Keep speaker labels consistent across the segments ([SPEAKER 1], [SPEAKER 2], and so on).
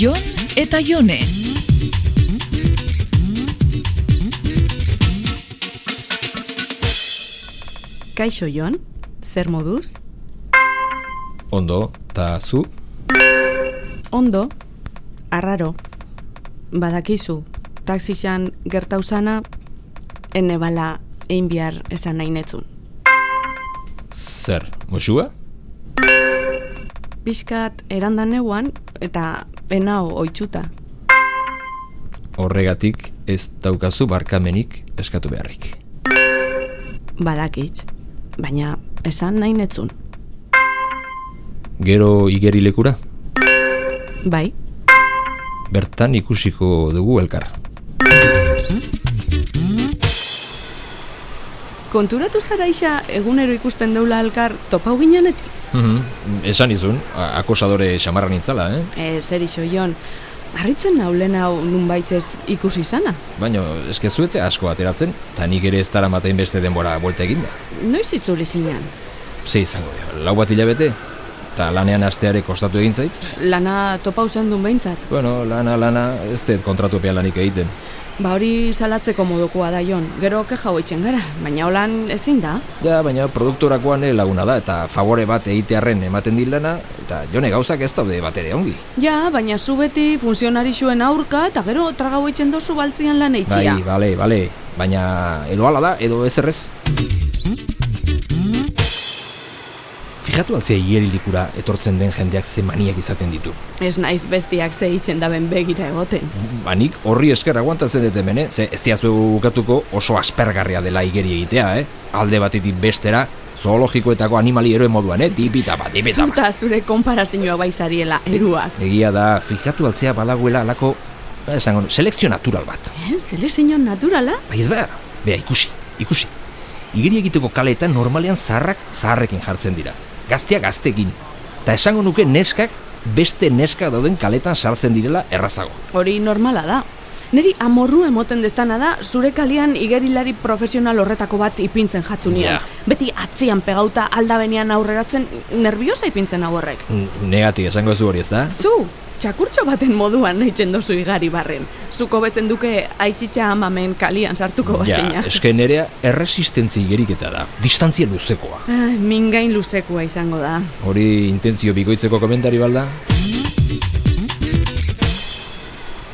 [SPEAKER 1] Jon eta Jone.
[SPEAKER 2] Kaixo Jon, zer moduz?
[SPEAKER 3] Ondo, ta zu?
[SPEAKER 2] Ondo, arraro. Badakizu, taxixan gertauzana, ene bala egin behar esan nahi netzun.
[SPEAKER 3] Zer, musua?
[SPEAKER 2] Piskat erandan neuan eta enao oitzuta.
[SPEAKER 3] Horregatik ez daukazu barkamenik eskatu beharrik.
[SPEAKER 2] Badakitz, baina esan nahi netzun.
[SPEAKER 3] Gero igeri lekura,
[SPEAKER 2] Bai,
[SPEAKER 3] bertan ikusiko dugu elkar.
[SPEAKER 2] konturatu zara isa egunero ikusten deula elkar topau ginenetik?
[SPEAKER 3] Mhm, esan izun, a- akosadore xamarra nintzala, eh?
[SPEAKER 2] E, zer iso Jon, harritzen naulen hau nunbaitzez ikusi izana.
[SPEAKER 3] Baina eskezuetze asko ateratzen, eta nik ere ez dara matein beste denbora buelta eginda.
[SPEAKER 2] Noiz itzuli zinan?
[SPEAKER 3] Ze izango dira, lau bat hilabete, eta lanean asteare kostatu egin zait.
[SPEAKER 2] Lana topau zendun behintzat.
[SPEAKER 3] Bueno, lana, lana, ez dut kontratupean lanik egiten.
[SPEAKER 2] Ba hori salatzeko modokoa da jon, gero keja hoitzen gara, baina holan ezin da.
[SPEAKER 3] Ja, baina produktorakoan nire laguna da, eta favore bat egitearren ematen dit lana, eta jone gauzak ez daude bat ere ongi.
[SPEAKER 2] Ja, baina zu beti funtzionari zuen aurka eta gero traga hoitzen dozu baltzian lan eitxia.
[SPEAKER 3] Bai, bale, bale, baina edo ala da, edo ez errez. Fijatu altzea hieri likura etortzen den jendeak ze maniak izaten ditu.
[SPEAKER 2] Ez naiz bestiak zehitzen daben begira egoten.
[SPEAKER 3] Ba nik horri esker aguantatzen dut hemen, eh? ze ez diazu bukatuko oso aspergarria dela igeri egitea, eh? Alde batetik bestera, zoologikoetako animali eroen moduan, eh? Tipita bat, tipita bat.
[SPEAKER 2] Zuta zure konparazioa baizariela, eruak.
[SPEAKER 3] Egia da, fijatu altzea badagoela alako, ba, esango, nu- selekzio natural bat.
[SPEAKER 2] Eh, zele zinon naturala?
[SPEAKER 3] Baiz ba, bea, ikusi, ikusi. Igeri egiteko kaleetan normalean zaharrak zaharrekin jartzen dira. Gaztea gaztekin. Ta esango nuke neskak beste neska dauden kaletan sartzen direla errazago.
[SPEAKER 2] Hori normala da. Neri amorru emoten destana da, zure kalian igerilari profesional horretako bat ipintzen jatzu nion.
[SPEAKER 3] Ja.
[SPEAKER 2] Beti atzian pegauta aldabenean aurreratzen, nerviosa ipintzen hau horrek.
[SPEAKER 3] N- Negati, esango ez du hori ez da?
[SPEAKER 2] Zu, txakurtxo baten moduan nahitzen dozu igari barren. Zuko bezen duke aitxitxa amamen kalian sartuko bazina.
[SPEAKER 3] eske nerea erresistentzi igeriketa da. Distantzia luzekoa.
[SPEAKER 2] Ai, Ah, mingain luzekoa izango da.
[SPEAKER 3] Hori intentzio bikoitzeko komentari balda?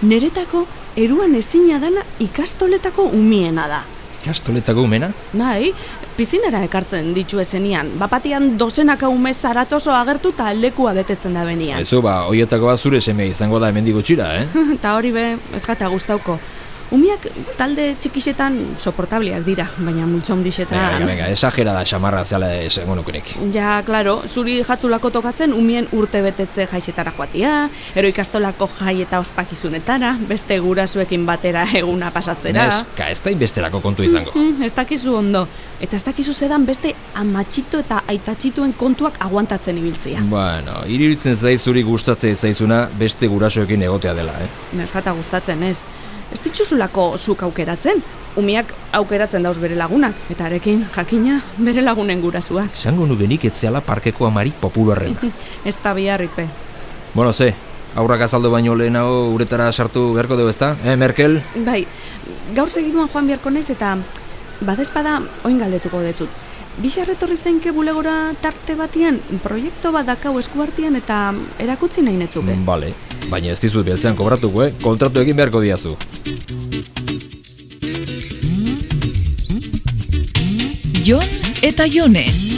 [SPEAKER 2] Neretako, eruan ezina dana ikastoletako umiena da.
[SPEAKER 3] Kastoletako umena?
[SPEAKER 2] Bai, pizinara ekartzen ditu esenian, bapatian dozenaka ume zaratoso agertu eta lekua betetzen da benian.
[SPEAKER 3] Ezo, ba, hoietako bat zure semea izango da hemendik gutxira, eh?
[SPEAKER 2] Eta hori be, ez gata gustauko. Umiak talde txikisetan soportabliak dira, baina multzo
[SPEAKER 3] Venga, venga,
[SPEAKER 2] handisetan...
[SPEAKER 3] Eh, venga, esagera da xamarra zela eh, esango nukenik.
[SPEAKER 2] Ja, klaro, zuri jatzulako tokatzen umien urte betetze jaisetara joatia, ero ikastolako jai eta ospakizunetara, beste gurasuekin batera eguna pasatzera.
[SPEAKER 3] Neska, ez da inbesterako kontu izango.
[SPEAKER 2] Mm, ez dakizu ondo, eta ez dakizu zedan beste amatxito eta aitatxituen kontuak aguantatzen ibiltzia.
[SPEAKER 3] Bueno, iruditzen zaizuri gustatzen zaizuna beste gurasoekin egotea dela, eh?
[SPEAKER 2] Neskata gustatzen ez. Ez dituzulako zuk aukeratzen. Umiak aukeratzen dauz bere lagunak, eta arekin jakina bere lagunen gurasuak.
[SPEAKER 3] Esango nukenik etzeala parkeko amari popularrena.
[SPEAKER 2] Ez da biharripe.
[SPEAKER 3] bueno, ze, aurrak azaldu baino lehenago uretara sartu beharko dugu ezta? Eh, Merkel?
[SPEAKER 2] Bai, gaur segiduan joan biharko naiz eta badezpada oin galdetuko detzut. Bixar etorri zenke bulegora tarte batian, proiektu bat dakau eskuartian eta erakutzi nahi netzuke.
[SPEAKER 3] Mm, Bale, baina ez dizut beltzean kobratuko, eh? Kontratu egin beharko diazu.
[SPEAKER 1] Jon eta Jone.